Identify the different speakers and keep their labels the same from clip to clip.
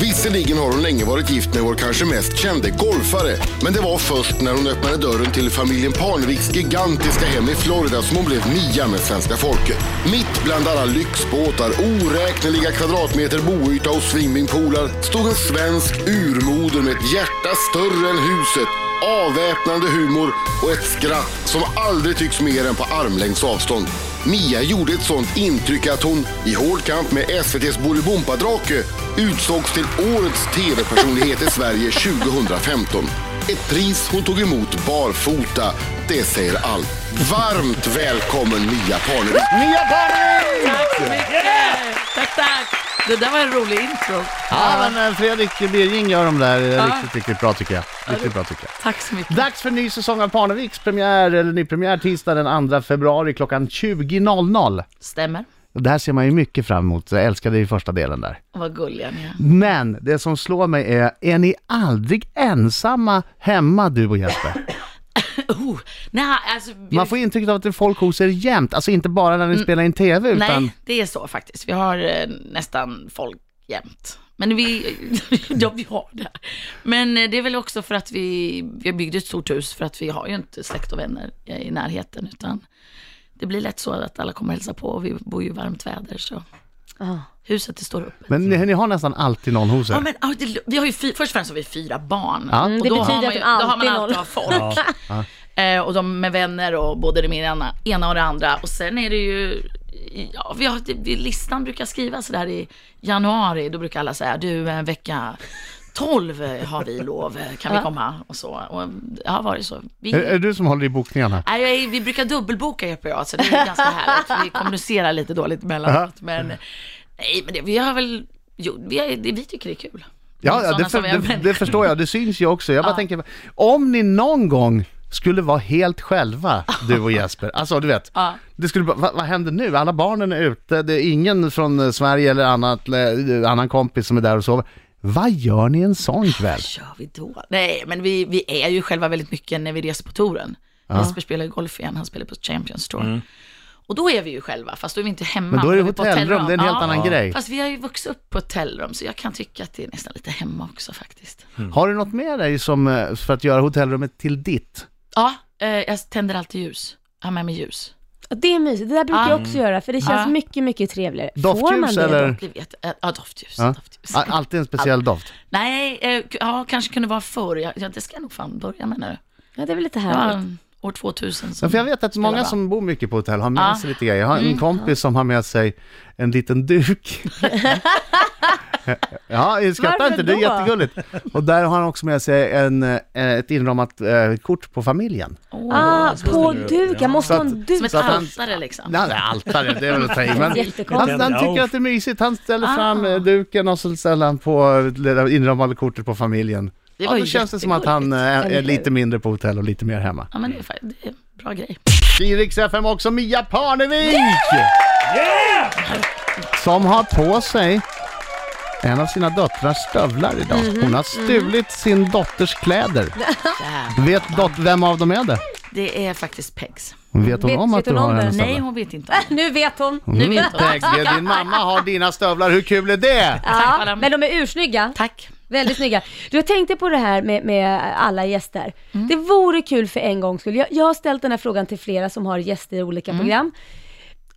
Speaker 1: Visserligen har hon länge varit gift med vår kanske mest kände golfare, men det var först när hon öppnade dörren till familjen Parneviks gigantiska hem i Florida som hon blev nia med svenska folket. Mitt bland alla lyxbåtar, oräkneliga kvadratmeter boyta och swimmingpoolar stod en svensk urmoder med ett hjärta större än huset, avväpnande humor och ett skratt som aldrig tycks mer än på armlängds avstånd. Mia gjorde ett sånt intryck att hon, i hård kamp med SVTs Bolibompa-drake, utsågs till Årets TV-personlighet i Sverige 2015. Ett pris hon tog emot barfota. Det säger allt. Varmt välkommen Mia Parnevik!
Speaker 2: Mia Parnevik!
Speaker 3: Tack så mycket! Tack, tack! Det där var en rolig intro.
Speaker 2: Ja, men eh, Fredrik Birging gör de där eh,
Speaker 3: Ja.
Speaker 2: riktigt, riktigt bra tycker jag. Riktigt bra tycker jag.
Speaker 3: Tack så mycket.
Speaker 2: Dags för ny säsong av Parneviks premiär, eller nypremiär, tisdag den 2 februari klockan 20.00.
Speaker 3: Stämmer.
Speaker 2: Och Det här ser man ju mycket fram emot, jag älskade ju första delen där.
Speaker 3: Och Vad gulliga ni är.
Speaker 2: Men det som slår mig är, är ni aldrig ensamma hemma du och Jesper?
Speaker 3: Oh, nej, alltså, vi-
Speaker 2: Man får intrycket av att det är folk hos er jämt, alltså inte bara när ni spelar in TV utan...
Speaker 3: Mm. Nej, det är så faktiskt. Vi har eh, nästan folk jämt. Men vi, ja, vi har det. Men eh, det är väl också för att vi, vi byggde ett stort hus för att vi har ju inte släkt och vänner eh, i närheten utan det blir lätt så att alla kommer hälsa på och vi bor ju i varmt väder så
Speaker 4: Mm,
Speaker 3: huset det står uppe.
Speaker 2: Men ni, ni har nästan alltid någon hos er.
Speaker 3: Ja, men, ja, det, vi har ju fy, först och främst har vi fyra barn.
Speaker 2: Ja.
Speaker 3: och
Speaker 4: det
Speaker 3: då
Speaker 4: betyder
Speaker 3: har man
Speaker 4: att
Speaker 3: ju,
Speaker 4: de
Speaker 3: då har man
Speaker 4: alltid
Speaker 3: alltid
Speaker 4: håller-
Speaker 3: av folk. Eh, och de med vänner och både det ena, ena och det andra. Och sen är det ju, ja, vi har, det, vi, listan brukar skrivas där i januari. Då brukar alla säga, du eh, vecka 12 eh, har vi lov, eh, kan vi komma? Och så. Och det har varit så. Vi,
Speaker 2: Är, är det du som håller i bokningarna?
Speaker 3: Nej, jag är- vi brukar dubbelboka Jeppe och jag, så det är ganska härligt. Vi kommunicerar lite dåligt emellanåt. Men, nej, men det, vi har väl, jo, vi, är, det, vi tycker det är kul.
Speaker 2: Ja, ja
Speaker 3: Med sådana
Speaker 2: det,
Speaker 3: som
Speaker 2: för,
Speaker 3: är
Speaker 2: det,
Speaker 3: vänner.
Speaker 2: det förstår jag. Det syns ju också. Jag bara tänker, om ni någon gång skulle vara helt själva, du och Jesper. Alltså du vet,
Speaker 3: Ja.
Speaker 2: det skulle, bara- vad, vad händer nu? Alla barnen är ute, det är ingen från eh, Sverige eller annat, eh, annan kompis som är där och sover. Vad gör ni en sån kväll?
Speaker 3: Vad gör vi då? Nej, men vi, vi är ju själva väldigt mycket när vi reser på touren. Jesper spelar ju golf igen, han spelar på Champions Tour. Och då är vi ju själva, fast då är vi inte hemma.
Speaker 2: Mm. Men då är det
Speaker 3: vi på
Speaker 2: hotellrum, det är en helt
Speaker 3: Ja,
Speaker 2: annan grej.
Speaker 3: Fast vi har ju vuxit upp på hotellrum, så jag kan tycka att det är nästan lite hemma också faktiskt.
Speaker 2: Har du något med dig som, eh, för att göra hotellrummet till ditt?
Speaker 3: Ja, eh, jag tänder alltid ljus. Jag har med mig ljus.
Speaker 4: Och det är mysigt, det där brukar jag också göra för det känns
Speaker 3: Ah.
Speaker 4: mycket, mycket trevligare. Får man
Speaker 2: Doftljus
Speaker 4: det
Speaker 2: eller?
Speaker 3: Det vet, eh, ja, doftljus.
Speaker 2: Mm. Ja.
Speaker 3: doftljus.
Speaker 2: A- Alltid en speciell doft.
Speaker 3: Nej, eh, k- ja, kanske kunde vara förr. Ja, ja, det ska jag nog fan börja med nu.
Speaker 4: då? Ja, det är väl lite
Speaker 3: Ja,
Speaker 4: härligt.
Speaker 3: år 2000.
Speaker 2: Ja,
Speaker 3: Som
Speaker 2: för jag vet att
Speaker 3: spelar
Speaker 2: många
Speaker 3: bra.
Speaker 2: som bor mycket på hotell har med
Speaker 3: Ja.
Speaker 2: sig lite grejer. Jag har en kompis som har med sig en liten duk. ja, skrattar
Speaker 4: Varför
Speaker 2: inte, det är
Speaker 4: då?
Speaker 2: jättegulligt. Och där har han också med sig en, eh, ett inramat eh, kort på familjen.
Speaker 3: Åh,
Speaker 4: Ah,
Speaker 3: så-
Speaker 4: på duk, jag måste ha en
Speaker 3: Som ett
Speaker 4: duk.
Speaker 2: så att han-
Speaker 3: altare liksom.
Speaker 2: Nej, det är altare, det är väl att ta i, men han,
Speaker 4: Jättekonstigt.
Speaker 2: han tycker att det är mysigt. Han ställer fram eh, duken och så ställer han på eh, det inramade kortet på familjen.
Speaker 3: Det
Speaker 2: Ja,
Speaker 3: var
Speaker 2: då
Speaker 3: ju
Speaker 2: känns det som att han eh, är
Speaker 4: Eller hur?
Speaker 2: lite mindre på hotell och lite mer hemma.
Speaker 3: Ja, men det är, fa- det är en bra grej.
Speaker 2: I Rix FM också Mia Parnevik! Som har på sig en av sina döttrars stövlar idag.
Speaker 3: Mhm,
Speaker 2: Hon har stulit sin dotters kläder. Vet dot- vem av dem är det?
Speaker 3: Det är faktiskt Pegs.
Speaker 2: Vet hon
Speaker 4: Vet-
Speaker 2: om att
Speaker 4: vet
Speaker 2: du
Speaker 4: hon
Speaker 2: har
Speaker 4: om det?
Speaker 2: hennes
Speaker 3: Nej,
Speaker 2: stövlar? Mm,
Speaker 3: hon vet inte. om det.
Speaker 4: Nu vet hon.
Speaker 3: Nu vet hon.
Speaker 2: Peggy, din mamma har dina stövlar, hur kul är det?
Speaker 4: Ja,
Speaker 3: madam.
Speaker 4: men de är ursnygga.
Speaker 3: Tack.
Speaker 4: Väldigt snygga. Du, jag tänkte på det här med, med alla gäster.
Speaker 3: Mm.
Speaker 4: Det vore kul för en gångs skull. Jag, jag har ställt den här frågan till flera som har gäster i olika
Speaker 3: Mm.
Speaker 4: program.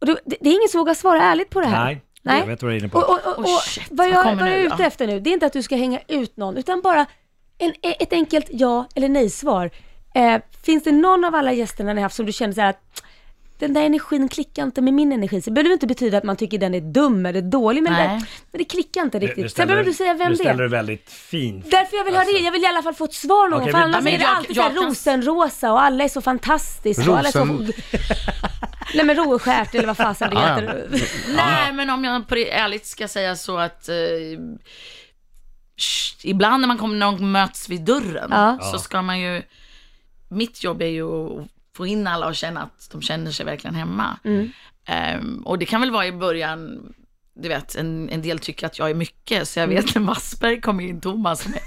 Speaker 4: Och det, det det är ingen som vågar svara ärligt på det här.
Speaker 5: Nej, jag vet vad du är inne på.
Speaker 4: Och, och, och, och,
Speaker 3: Oh, shit,
Speaker 4: vad
Speaker 3: vad
Speaker 4: jag,
Speaker 3: kommer
Speaker 4: vad jag är
Speaker 3: nu
Speaker 4: ute
Speaker 3: då?
Speaker 4: efter nu, det är inte att du ska hänga ut någon, utan bara en, e- ett enkelt ja eller nej-svar. Eh, finns det någon av alla gästerna ni haft som du känner så här att den där energin klickar inte med min energi. Så det behöver inte betyda att man tycker den är dum eller dålig, men,
Speaker 3: Nej.
Speaker 4: den, men det klickar inte
Speaker 5: Nu- nu
Speaker 4: riktigt. Sen
Speaker 5: ställer
Speaker 4: behöver du säga vem
Speaker 5: nu
Speaker 4: det
Speaker 5: ställer
Speaker 4: är.
Speaker 5: du väldigt fint.
Speaker 4: Därför jag vill ha det, jag vill i alla fall få ett svar någon
Speaker 5: Okej,
Speaker 4: gång, för
Speaker 5: men-
Speaker 4: annars
Speaker 3: men
Speaker 4: är det
Speaker 3: jag-
Speaker 4: alltid
Speaker 3: jag
Speaker 4: så här
Speaker 3: kan-
Speaker 4: rosenrosa och alla är så fantastiska och alla är så...
Speaker 2: Rosen-
Speaker 4: Nej men roskärt eller vad fasen det
Speaker 2: Ja, ja.
Speaker 4: heter.
Speaker 3: Nej, men om jag på det ärligt ska säga så att eh, sh- ibland när man kommer, när de möts vid dörren
Speaker 4: Ja.
Speaker 3: så ska man ju, mitt jobb är ju att få in alla och känna att de känner sig verkligen hemma. Ehm, och det kan väl vara i början du vet, en, en del tycker att jag är mycket, så jag vet när Wassberg kom in, Thomas, som är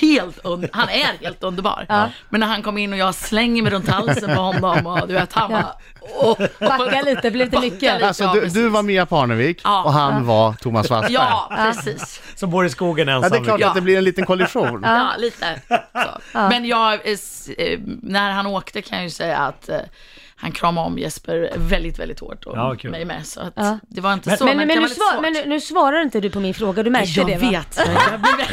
Speaker 3: helt un- han är helt underbar. Men när han kom in och jag slänger mig runt halsen på honom och du vet, han bara, åh.
Speaker 4: Backa lite, blir lite
Speaker 3: Backa
Speaker 4: mycket.
Speaker 3: lite.
Speaker 2: Alltså
Speaker 3: Ja,
Speaker 2: du,
Speaker 3: precis.
Speaker 2: du var Mia Parnevik
Speaker 3: Ja.
Speaker 2: och han var Thomas Wassberg.
Speaker 3: Ja, precis.
Speaker 5: Som bor i skogen
Speaker 2: Ja,
Speaker 5: ensam.
Speaker 2: det är klart
Speaker 3: Ja.
Speaker 2: att det blir en liten kollision.
Speaker 3: Ja, lite så. Men jag, eh, s- eh, när han åkte kan jag ju säga att eh, han kramade om Jesper väldigt, väldigt hårt och
Speaker 5: Ja, kul.
Speaker 3: mig med. Så att
Speaker 4: Ja.
Speaker 3: det var inte
Speaker 5: Men-
Speaker 3: så,
Speaker 4: Men,
Speaker 3: men,
Speaker 4: men,
Speaker 3: det
Speaker 4: nu
Speaker 3: var
Speaker 4: svar, men
Speaker 3: lite
Speaker 4: nu,
Speaker 3: svårt.
Speaker 4: nu svarade inte du på min fråga, du märkte det
Speaker 3: Jag
Speaker 4: va?
Speaker 3: vet. Jag blev-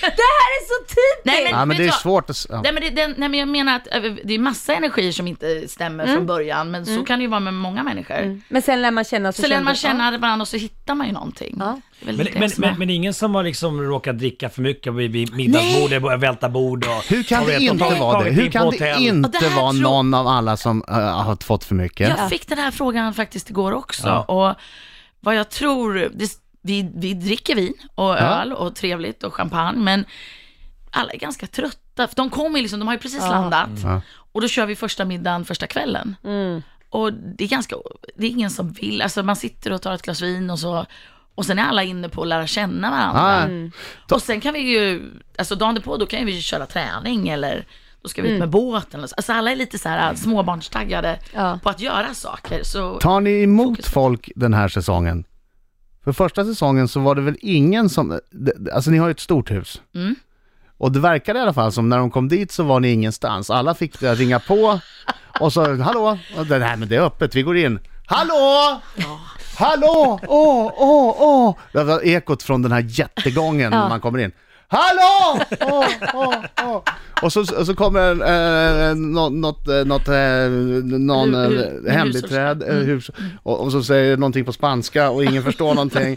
Speaker 4: Det här är så typ? typiskt!
Speaker 3: Nej,
Speaker 2: Ja,
Speaker 3: men-
Speaker 2: men det är
Speaker 3: vet du vad?
Speaker 2: svårt att... Ja.
Speaker 3: Nej men, det, den, nej men jag menar att eh, det är massa energier som inte stämmer
Speaker 4: Mm.
Speaker 3: från början, men så kan det ju vara med många människor.
Speaker 4: Men sen lär man känna
Speaker 3: Så lär man känna varandra och så hittar man ju någonting.
Speaker 4: Ja.
Speaker 3: Det är väl
Speaker 5: Men,
Speaker 3: det
Speaker 5: men,
Speaker 3: som är-
Speaker 5: men, men ingen som har liksom råkat dricka för mycket vid, vid middagsbordet, börjat välta bord och...
Speaker 2: Hur kan
Speaker 5: och
Speaker 2: det
Speaker 5: vet,
Speaker 2: inte
Speaker 5: tagit-
Speaker 2: vara det?
Speaker 5: tagit
Speaker 2: Hur
Speaker 5: in på
Speaker 2: kan det
Speaker 5: hotell.
Speaker 3: Och det
Speaker 2: inte
Speaker 3: här
Speaker 2: vara
Speaker 3: tror-
Speaker 2: någon av alla som eh, har fått för mycket?
Speaker 3: Jag fick den här frågan faktiskt igår också.
Speaker 5: Ja.
Speaker 3: Och vad jag tror, det, vi, vi dricker vin och öl och trevligt och champagne, men alla är ganska trötta. För de kommer ju liksom, de har ju precis landat.
Speaker 2: Ja.
Speaker 3: Och då kör vi första middagen första kvällen. Och det är ganska, det är ingen som vill, alltså man sitter och tar ett glas vin och så, och sen är alla inne på att lära känna varandra.
Speaker 2: Ja.
Speaker 3: Och sen kan vi ju, alltså dagen därpå då kan ju vi köra träning eller då ska vi ut med båten. eller så. Alltså alla är lite så här småbarnstaggade
Speaker 4: Ja.
Speaker 3: på att göra saker. Så
Speaker 2: Tar ni emot folk den här säsongen? För första säsongen så var det väl ingen som... d- d- Alltså ni har ju ett stort hus.
Speaker 3: Mm.
Speaker 2: Och det verkade i alla fall som när de kom dit så var ni ingenstans. Alla fick eh, ringa på och så hallå, och det, nej men det är öppet, vi går in. Hallå! Hallå! Åh, åh, åh! Det var ekot från den här jättegången när man kommer in. Hallå! Åh, åh, åh! Och så, och så kommer en, eh, nå- något, eh, något, eh, någon
Speaker 3: Hu- hu- Mm.
Speaker 2: eh, hembiträd, eh, hus, och, och så säger någonting på spanska och ingen förstår någonting.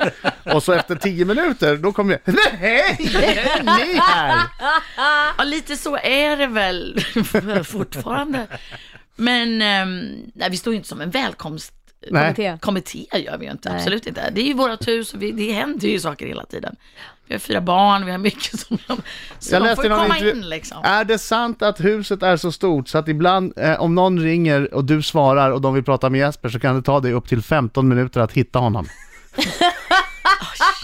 Speaker 2: Och så efter tio minuter, då kommer jag, nej, är ni här?
Speaker 3: ja, lite så är det väl fortfarande. Men ehm, nej, vi står ju inte som en välkomstkommitté
Speaker 2: Nej.
Speaker 3: gör vi ju inte, absolut inte. Det är ju vårt hus och vi, det händer ju saker hela tiden. Vi har fyra barn, vi har mycket som de, så
Speaker 2: Jag
Speaker 3: de
Speaker 2: läste
Speaker 3: får ju
Speaker 2: någon
Speaker 3: komma
Speaker 2: intervju- Ah.
Speaker 3: in liksom.
Speaker 2: Är det sant att huset är så stort så att ibland eh, om någon ringer och du svarar och de vill prata med Jesper så kan det ta dig upp till 15 minuter att hitta honom?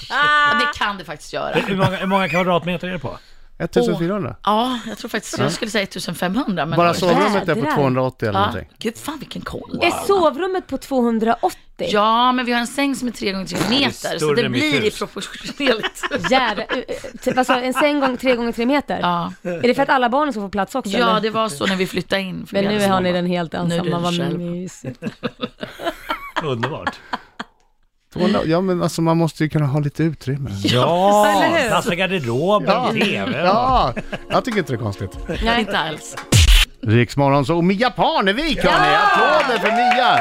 Speaker 3: Ja, det kan det faktiskt göra.
Speaker 5: Hur många, hur många kvadratmeter är det på?
Speaker 2: 1400?
Speaker 3: Ja, jag tror faktiskt, jag skulle säga 1500. Men
Speaker 2: Ah. Bara
Speaker 3: det var ju-
Speaker 2: sovrummet är på
Speaker 4: Jädrar.
Speaker 2: 280 eller
Speaker 3: Ja.
Speaker 2: någonting.
Speaker 3: Gud, fan vilken koll.
Speaker 4: Är sovrummet på 280?
Speaker 3: Ja, men vi har en säng som är 3 gånger 3 meter, så
Speaker 5: större
Speaker 3: det
Speaker 5: än mitt
Speaker 3: blir i
Speaker 5: hus.
Speaker 3: proportionellt.
Speaker 4: Jävlar, eh, eh, typ alltså en säng gång tre gånger tre meter?
Speaker 3: Ja.
Speaker 4: Är det för att alla barnen ska få plats också?
Speaker 3: ja,
Speaker 4: eller?
Speaker 3: det var så när vi flyttade in. för
Speaker 4: Men
Speaker 3: vi
Speaker 4: nu
Speaker 3: hade
Speaker 4: har
Speaker 3: så
Speaker 4: ni
Speaker 3: många.
Speaker 4: den helt
Speaker 3: Nu är det
Speaker 4: ensamma, vad
Speaker 3: själv.
Speaker 4: mysigt.
Speaker 5: Underbart.
Speaker 2: 200, ja men alltså man måste ju kunna ha lite utrymme.
Speaker 4: eller
Speaker 5: Ja,
Speaker 4: hur?
Speaker 5: plats för garderoben,
Speaker 2: Ja.
Speaker 5: TV.
Speaker 2: Ja, jag tycker inte det är konstigt.
Speaker 3: Nej, inte alls.
Speaker 2: Riksmorgon så Mia Parnevik hörni! Applåder för Mia!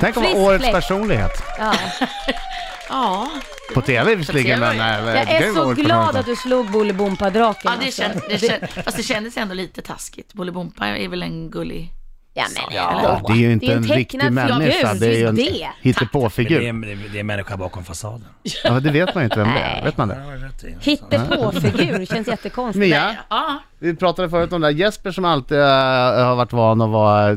Speaker 2: Tänk om
Speaker 4: Frisk
Speaker 2: årets
Speaker 4: fläkt.
Speaker 2: personlighet.
Speaker 4: Ja.
Speaker 3: Ja,
Speaker 2: På TV visserligen
Speaker 3: På TV,
Speaker 2: men...
Speaker 3: ja.
Speaker 2: eh,
Speaker 4: Jag
Speaker 2: det
Speaker 4: är så
Speaker 2: årets
Speaker 4: glad
Speaker 2: personlighet.
Speaker 4: att du slog alltså. Bolibompa-draken.
Speaker 3: ja det kändes, det känd, fast det kändes ändå lite taskigt. Bolibompa är väl en gullig...
Speaker 4: Ja, men,
Speaker 2: Ja, det är ju inte
Speaker 4: Det är
Speaker 2: en,
Speaker 4: en
Speaker 2: riktig
Speaker 4: tecknad
Speaker 2: människa,
Speaker 4: figur,
Speaker 2: det är ju
Speaker 4: det är
Speaker 2: en
Speaker 4: det.
Speaker 5: Det är,
Speaker 2: hittepåfigur.
Speaker 5: en- det är- det är en människa bakom fasaden.
Speaker 2: Ja, det vet man ju inte vem det är.
Speaker 4: Nej.
Speaker 2: Vet man det?
Speaker 4: Hittepåfigur, känns jättekonstigt.
Speaker 2: Mia,
Speaker 3: Ja,
Speaker 2: vi pratade förut om det här. Jesper som alltid eh, har varit van att vara eh,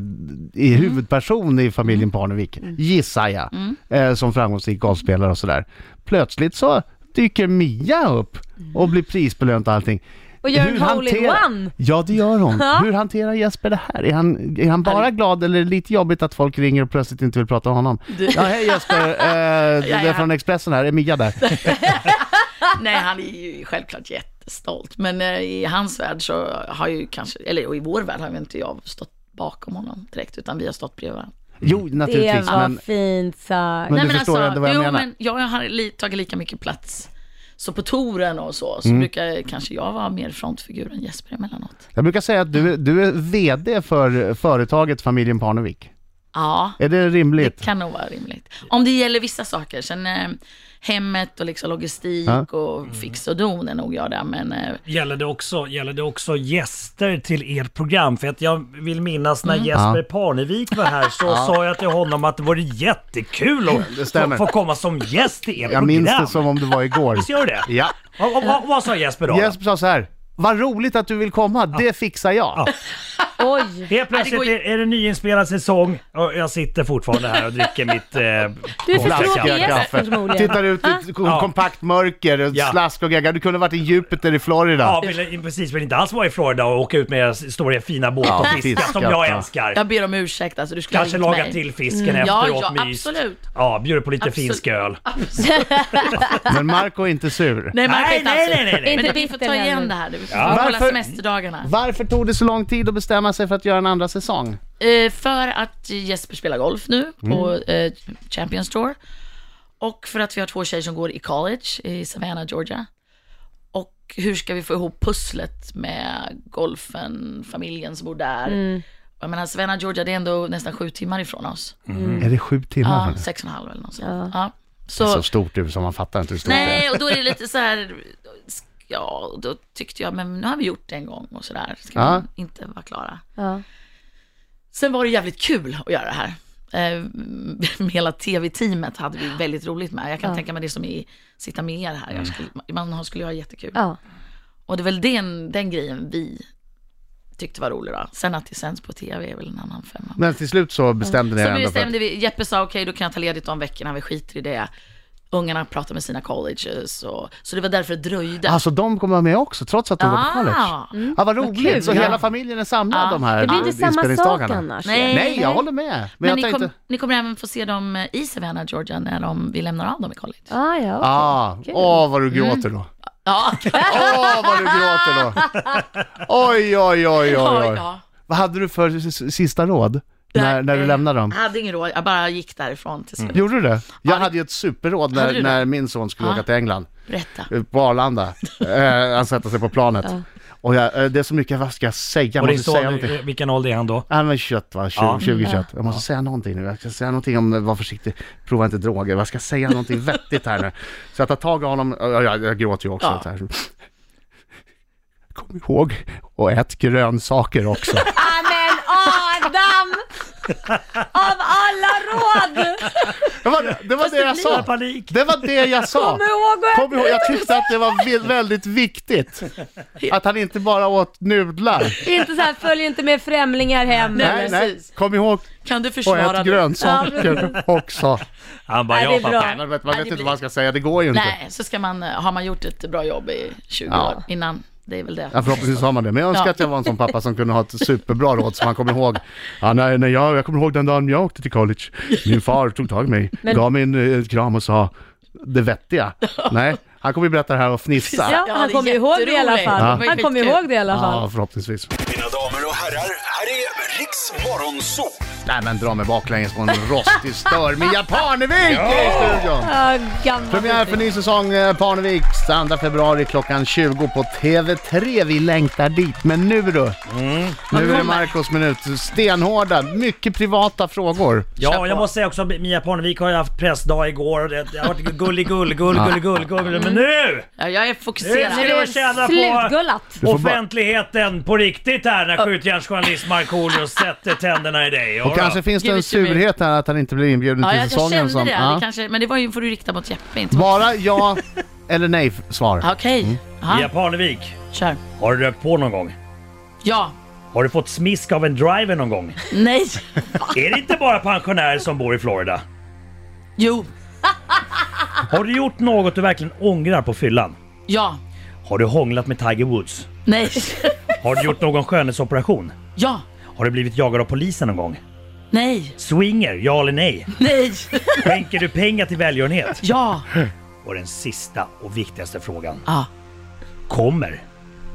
Speaker 2: i
Speaker 4: Mm.
Speaker 2: huvudperson i familjen Parnevik, gissar jag, eh, som framgångsrik golfspelare och sådär. Plötsligt så dyker Mia upp och blir prisbelönt och allting.
Speaker 4: Och gör en hole-in-one.
Speaker 2: Ja, det gör hon.
Speaker 4: Ja.
Speaker 2: Hur hanterar Jesper det här? Är han, är han bara glad eller är det lite jobbigt att folk ringer och plötsligt inte vill prata om honom? Ja, hej Jesper, eh, det är
Speaker 3: ja.
Speaker 2: från Expressen här, är Mia där?
Speaker 3: nej, han är ju självklart jättestolt. Men eh, i hans värld så har ju kanske, eller och i vår värld har ju inte jag stått bakom honom direkt, utan vi har stått bredvid varandra.
Speaker 2: Jo,
Speaker 4: Det
Speaker 2: naturligtvis,
Speaker 4: var
Speaker 2: men
Speaker 4: fint sagt.
Speaker 2: Men- du förstår ändå vad jag
Speaker 3: alltså, jo,
Speaker 2: menar.
Speaker 3: Men jag har li, tagit lika mycket plats. Så på touren och så, så
Speaker 2: Mm.
Speaker 3: brukar kanske jag vara mer frontfigur än Jesper emellanåt.
Speaker 2: Jag brukar säga att du, du är VD för företaget familjen Parnevik.
Speaker 3: Ja,
Speaker 2: Är det rimligt?
Speaker 3: det kan nog vara rimligt. Om det gäller vissa saker. Sen eh, hemmet och liksom logistik
Speaker 2: Ja.
Speaker 5: Mm.
Speaker 3: och fix och don är nog jag där. Men eh,
Speaker 5: Gäller det, också, gäller det också gäster till ert program? För att jag vill minnas när Jesper
Speaker 2: Mm. Ja.
Speaker 5: Parnevik var här så sa jag till honom att det vore jättekul
Speaker 2: Det
Speaker 5: att
Speaker 2: stämmer.
Speaker 5: få- få komma som gäst i ert
Speaker 2: Jag
Speaker 5: program.
Speaker 2: minns det som om det var igår.
Speaker 5: Visst gör det?
Speaker 2: Ja.
Speaker 5: Och, och, och, vad sa Jesper då?
Speaker 2: Jesper sa så här, vad roligt att du vill komma, det fixar jag.
Speaker 4: Oj.
Speaker 5: Helt plötsligt
Speaker 3: går ju-
Speaker 5: är, är det nyinspelad säsong och jag sitter fortfarande här och dricker mitt... Eh,
Speaker 4: Du är för
Speaker 5: Blaskiga
Speaker 4: tråkig i
Speaker 5: kaffe.
Speaker 4: gästen förmodligen.
Speaker 2: Tittar ut i ett
Speaker 5: Ja.
Speaker 2: kompakt mörker, och
Speaker 5: Ja.
Speaker 2: slask och gegga. Du kunde varit i Jupiter i Florida.
Speaker 5: ja, vill, precis. Vill inte alls vara i Florida och åka ut med deras stora fina båt och
Speaker 2: Ja,
Speaker 5: fiska som
Speaker 2: fiskat,
Speaker 5: jag
Speaker 2: ja.
Speaker 5: älskar.
Speaker 3: Jag ber om ursäkt alltså, du skulle
Speaker 5: Kanske
Speaker 3: ha ringt
Speaker 5: laga
Speaker 3: mig. Mm,
Speaker 5: till fisken
Speaker 3: Ja,
Speaker 5: efteråt,
Speaker 3: ja,
Speaker 5: mys.
Speaker 3: absolut.
Speaker 5: Ja, bjuder på lite
Speaker 3: Absolut.
Speaker 5: finsk öl.
Speaker 3: Absolut.
Speaker 2: Men Marco är inte sur.
Speaker 3: Nej, man kan
Speaker 5: Nej,
Speaker 3: inte
Speaker 5: nej,
Speaker 3: alls-
Speaker 5: nej, nej, nej.
Speaker 3: Men
Speaker 4: Inte
Speaker 3: vi får
Speaker 4: bitter
Speaker 3: ta
Speaker 4: heller.
Speaker 3: igen det här. Vi får ja. kolla
Speaker 2: Varför-
Speaker 3: semesterdagarna.
Speaker 2: Varför tog det så lång tid att bestämma sig för att göra en andra säsong?
Speaker 3: Eh, för att Jesper spelar golf nu på eh, Champions Tour. Och för att vi har två tjejer som går i college i Savannah, Georgia. Och hur ska vi få ihop pusslet med golfen, familjen som bor där. Jag menar Savannah, Georgia, det är ändå nästan sju timmar ifrån oss.
Speaker 2: Är det sju timmar?
Speaker 3: Ja,
Speaker 2: från nu?
Speaker 3: sex och en halv eller något sånt.
Speaker 4: Ja.
Speaker 3: Ja.
Speaker 2: Det är
Speaker 3: Så,
Speaker 2: så stort du som man fattar inte hur stort det
Speaker 3: nej,
Speaker 2: är.
Speaker 3: och då är det lite så här, ja, då tyckte jag, men nu har vi gjort det en gång och sådär. Ska
Speaker 2: Ja.
Speaker 3: man inte vara klara?
Speaker 4: Ja.
Speaker 3: Sen var det jävligt kul att göra det här. Eh, Med hela tv-teamet hade vi väldigt roligt med. Jag kan tänka mig det som i sitta med er här. Jag skulle, man har- skulle ju ha jättekul.
Speaker 4: ja.
Speaker 3: Och det är väl den, den grejen vi tyckte var rolig då. Sen att det sänds på tv är väl en annan femma.
Speaker 2: Men till slut så bestämde ni er
Speaker 3: Så
Speaker 2: ändå för att...
Speaker 3: bestämde vi, Jeppe sa okej då kan jag ta ledigt om veckorna, vi skiter i det. Ungarna pratar med sina colleges och, så det var därför det dröjde.
Speaker 2: Alltså de kommer vara med också, trots att de går på
Speaker 3: Ah.
Speaker 2: college.
Speaker 3: Mm.
Speaker 2: Ja, vad roligt!
Speaker 4: kul.
Speaker 2: så
Speaker 4: Ja.
Speaker 2: hela familjen är samlad
Speaker 3: Ja.
Speaker 2: de här
Speaker 4: Det blir inte samma sak
Speaker 2: inspelningsdagarna.
Speaker 4: annars.
Speaker 3: Nej.
Speaker 2: Nej, jag håller med. Men,
Speaker 3: Men
Speaker 2: jag
Speaker 3: ni,
Speaker 2: tänkte...
Speaker 3: kom, ni kommer även få se dem eh, i Savannah, Georgia när de, vi lämnar av dem i college.
Speaker 4: Ah, ja, okej.
Speaker 2: Ah,
Speaker 4: Kul.
Speaker 2: åh vad du gråter
Speaker 3: Mm.
Speaker 2: då.
Speaker 3: Ja,
Speaker 2: Åh vad du gråter då. Oj, oj, oj, oj, oj.
Speaker 3: ja.
Speaker 2: Vad hade du för s- s- sista råd när, när du
Speaker 3: eh,
Speaker 2: lämnade dem?
Speaker 3: Jag hade ingen råd, jag bara gick därifrån till slut.
Speaker 2: Gjorde du det? Jag hade ju ett superråd
Speaker 3: Hade
Speaker 2: när,
Speaker 3: du det?
Speaker 2: när min son skulle
Speaker 3: Ja.
Speaker 2: åka till England.
Speaker 3: Berätta.
Speaker 2: eh, På Arlanda. Eh, Han sätter sig på planet. Och jag, eh, det är så mycket, vad ska jag säga? Jag
Speaker 5: Och din
Speaker 2: måste säga
Speaker 5: son,
Speaker 2: någonting.
Speaker 5: eh, vilken ålder är han då?
Speaker 2: Han var 21 va? 20,
Speaker 5: Ja.
Speaker 2: 20
Speaker 3: Mm.
Speaker 2: 21. Jag måste säga någonting nu. Jag ska säga någonting om, eh, var försiktig, prova inte droger. Jag ska säga någonting vettigt här nu. Så jag tar tag i honom, jag, jag, jag gråter ju också.
Speaker 3: Ja.
Speaker 2: Så här. Kom ihåg och ät grönsaker också.
Speaker 4: Ah, men Adam! Av alla råd!
Speaker 2: Det var det, var det jag
Speaker 5: Jag
Speaker 2: sa.
Speaker 5: panik!
Speaker 2: Det var det jag sa.
Speaker 4: Kom ihåg att...
Speaker 2: Kom ihåg, jag tyckte att det var vi- väldigt viktigt. Att han inte bara åt nudlar.
Speaker 4: Inte så här, följ inte med främlingar hem.
Speaker 2: Nej,
Speaker 4: eller?
Speaker 2: nej.
Speaker 3: precis.
Speaker 2: Kom ihåg
Speaker 3: Kan du
Speaker 2: och
Speaker 3: försvara
Speaker 2: ät grönsaker också.
Speaker 5: Han bara,
Speaker 4: Nej, det
Speaker 5: ja
Speaker 4: är bra.
Speaker 5: pappa.
Speaker 2: Nej, Man vet, man
Speaker 3: Nej,
Speaker 2: vet
Speaker 3: det
Speaker 2: inte
Speaker 3: blir-
Speaker 2: vad man ska säga, det går ju inte.
Speaker 3: Nej, så ska man, eh, har man gjort ett bra jobb i 20
Speaker 2: Ja.
Speaker 3: år innan, det är väl det.
Speaker 2: Ja, förhoppningsvis har man det. Men jag önskar
Speaker 3: Ja.
Speaker 2: att jag var en sån pappa som kunde ha ett superbra råd som man kommer ihåg. Ja, nej, nej, jag, jag kommer ihåg den dagen jag åkte till college. Min far tog tag i mig,
Speaker 4: Men-
Speaker 2: gav mig en eh, kram och sa det vettiga. Nej, han kommer ju berätta det här och fnissa.
Speaker 4: Ja,
Speaker 3: Ja,
Speaker 4: han
Speaker 3: det är
Speaker 4: kommer ihåg det i alla
Speaker 3: jätteroligt.
Speaker 4: fall.
Speaker 3: Ja.
Speaker 4: Han kommer ihåg det i alla fall.
Speaker 2: Ja, förhoppningsvis.
Speaker 6: Mina damer och herrar, här är Riks Morgonzoo!
Speaker 2: Nej, men dra mig baklänges på en rostig stör med Mia Parnevik är i studion!
Speaker 4: Ja, gammal
Speaker 2: Premiär för ny säsong eh, Parnevik, 2 februari klockan 20 på TV3. Vi längtar dit, men nu
Speaker 5: Mm.
Speaker 2: du! Nu är det Marcos minut. Stenhårda, mycket privata frågor.
Speaker 5: Ja, jag måste säga också att Mia Parnevik har ju haft pressdag igår och det det har varit gullig, gull, gull, gull, gull, gull.
Speaker 4: Mm.
Speaker 5: Men nu!
Speaker 3: Ja, jag är
Speaker 5: Nu
Speaker 3: fokuserad.
Speaker 5: ska vi känna på
Speaker 4: Slutgullat!
Speaker 2: Du får bara-
Speaker 5: offentligheten på riktigt här när skjutjärnsjournalist Markoolio sätter tänderna i dig. Ja,
Speaker 2: Och
Speaker 5: då.
Speaker 2: kanske finns det
Speaker 3: Give
Speaker 2: en
Speaker 3: it to me.
Speaker 2: surhet här att han inte blir inbjuden
Speaker 3: Ja,
Speaker 2: till
Speaker 3: jag, jag
Speaker 2: säsongen.
Speaker 3: kände
Speaker 2: som,
Speaker 3: det.
Speaker 2: ja.
Speaker 3: det kanske, men det var ju, får du rikta mot Jeppe, inte mot...
Speaker 2: Bara ja eller nej svar.
Speaker 3: Okej, Ja,
Speaker 5: Mia Parnevik,
Speaker 3: kör.
Speaker 5: har du rökt på någon gång?
Speaker 3: Ja,
Speaker 5: Har du fått smisk av en driver någon gång?
Speaker 3: nej,
Speaker 5: Är det inte bara pensionärer som bor i Florida?
Speaker 3: jo,
Speaker 5: Har du gjort något du verkligen ångrar på fyllan?
Speaker 3: ja,
Speaker 5: Har du hånglat med Tiger Woods?
Speaker 3: nej,
Speaker 5: Har du gjort någon skönhetsoperation?
Speaker 3: ja,
Speaker 5: Har du blivit jagad av polisen någon gång?
Speaker 3: nej,
Speaker 5: Swinger, ja eller nej?
Speaker 3: nej,
Speaker 5: Skänker du pengar till välgörenhet?
Speaker 3: ja,
Speaker 5: Och den sista och viktigaste frågan.
Speaker 3: ja.
Speaker 5: Kommer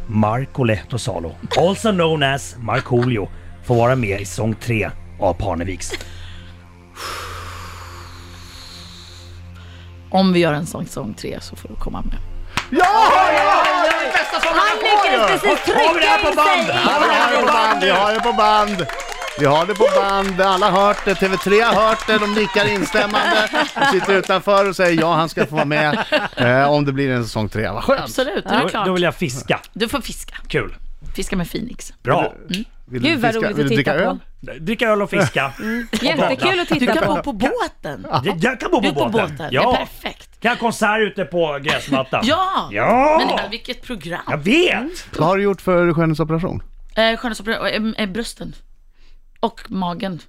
Speaker 5: Marco Lehtosalo, also known as Markoolio, få vara med i säsong 3 av Parneviks?
Speaker 3: Om vi gör en sån säsong tre så får du komma med.
Speaker 2: Ja! Det är det bästa som
Speaker 4: Han lyckades precis
Speaker 5: Har vi det här
Speaker 4: trycka
Speaker 5: på
Speaker 4: in sig
Speaker 5: band?
Speaker 4: i
Speaker 5: Har
Speaker 2: Vi har det på band, vi har det på band. Vi har det på band, alla har hört det, TV3 har hört det, de nickar instämmande. De sitter utanför och säger ja, han ska få vara med eh, om det blir en säsong tre. Vad skönt!
Speaker 3: Absolut, det är
Speaker 5: Då, då vill
Speaker 3: klart.
Speaker 5: jag fiska.
Speaker 3: Du får fiska.
Speaker 5: Kul.
Speaker 3: Fiska med Phoenix.
Speaker 5: Bra.
Speaker 2: Vill
Speaker 4: Gud, vad roligt
Speaker 2: vill
Speaker 4: att
Speaker 2: du dricka
Speaker 4: titta på.
Speaker 2: öl?
Speaker 5: Dricka öl och fiska.
Speaker 3: Mm.
Speaker 4: Jättekul att
Speaker 3: Du
Speaker 4: titta
Speaker 3: kan
Speaker 4: på.
Speaker 3: bo på båten.
Speaker 5: Jag- Jag kan bo
Speaker 3: Du är
Speaker 5: på
Speaker 3: på
Speaker 5: båten.
Speaker 3: båten, det är
Speaker 5: Ja.
Speaker 3: perfekt.
Speaker 5: Kan ha konsert ute på gräsmattan.
Speaker 3: Ja!
Speaker 5: Ja!
Speaker 3: Men det här, Mm. vilket program.
Speaker 5: Jag vet!
Speaker 2: Vad har du gjort för skönhetsoperation?
Speaker 3: Eh, skönhetsoperation, och, eh, eh, brösten. Och magen.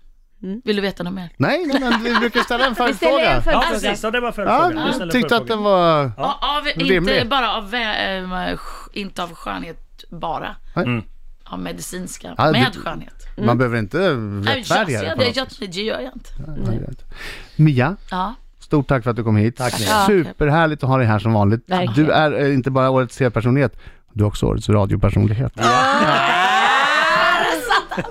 Speaker 3: Vill du veta något mer?
Speaker 2: Nej, nej, men vi brukar ställa en
Speaker 4: Vi ställer
Speaker 2: följdfråga.
Speaker 4: en
Speaker 5: Ja,
Speaker 4: följdfråga.
Speaker 5: precis. Ja, det var följdfrågan.
Speaker 2: Ja,
Speaker 5: Du ställer
Speaker 2: jag tyckte att den
Speaker 5: följdfrågan.
Speaker 2: var...
Speaker 3: Ja, Av, inte
Speaker 2: rimligt.
Speaker 3: bara av, vä- eh, sk- inte av skönhet bara.
Speaker 2: Mm.
Speaker 3: Av medicinska,
Speaker 2: Ja,
Speaker 3: med
Speaker 2: det-
Speaker 3: skönhet.
Speaker 4: Mm.
Speaker 2: Man behöver inte
Speaker 3: Nej, jag,
Speaker 2: rättfärdiga det
Speaker 3: jag,
Speaker 2: på något
Speaker 3: det,
Speaker 2: sätt.
Speaker 3: jag, det gör jag inte.
Speaker 2: Mia,
Speaker 3: Ja.
Speaker 2: stort tack för att du kom hit.
Speaker 5: Tack, Mia.
Speaker 3: Ja.
Speaker 2: Superhärligt att ha dig här som vanligt.
Speaker 4: Verkligen.
Speaker 2: Du är eh, inte bara årets C-personlighet, du är också årets radiopersonlighet.
Speaker 7: Rick 102.